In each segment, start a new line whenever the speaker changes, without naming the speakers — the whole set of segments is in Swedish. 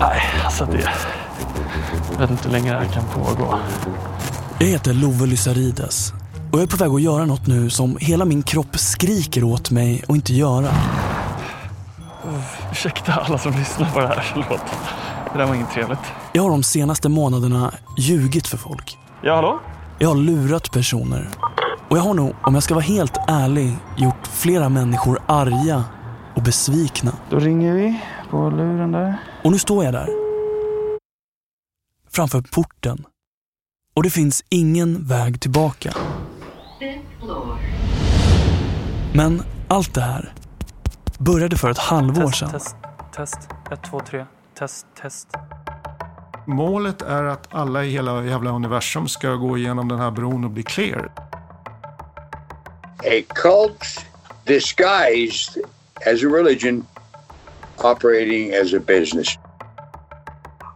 Nej, alltså det... Jag vet inte hur länge det här kan pågå.
Jag heter Love Lysarides och jag är på väg att göra något nu som hela min kropp skriker åt mig att inte göra.
Ursäkta alla som lyssnar på det här, förlåt. Det där var inget trevligt.
Jag har de senaste månaderna ljugit för folk.
Ja, hallå?
Jag har lurat personer. Och jag har nog, om jag ska vara helt ärlig, gjort flera människor arga och besvikna.
Då ringer vi på luren där.
Och nu står jag där. Framför porten. Och det finns ingen väg tillbaka. Men allt det här började för ett halvår
Test,
sedan.
test, test. Ett, två, tre. Test, test.
Målet är att alla i hela jävla universum ska gå igenom den här bron och bli clear.
a cult disguised as a religion operating as a business.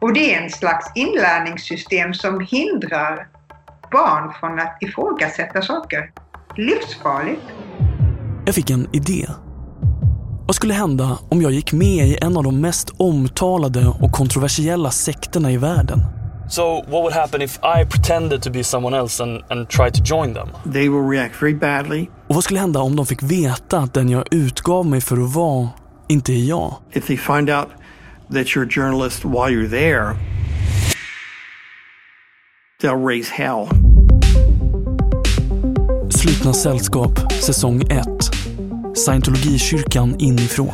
Och det är en slags inlärningssystem som hindrar barn från att ifrågasätta saker. Livsfarligt.
Jag fick en idé. Vad skulle hända om jag gick med i en av de mest omtalade och kontroversiella sekterna i världen?
So what would happen if I pretended to be someone else and, and tried to join them?
They will react very badly.
Och vad skulle hända om de fick veta att den jag utgav mig för att vara inte är jag?
If they find out that you're a journalist while you're there, they'll raise hell.
Slutna sällskap, säsong 1. Scientologikyrkan inifrån.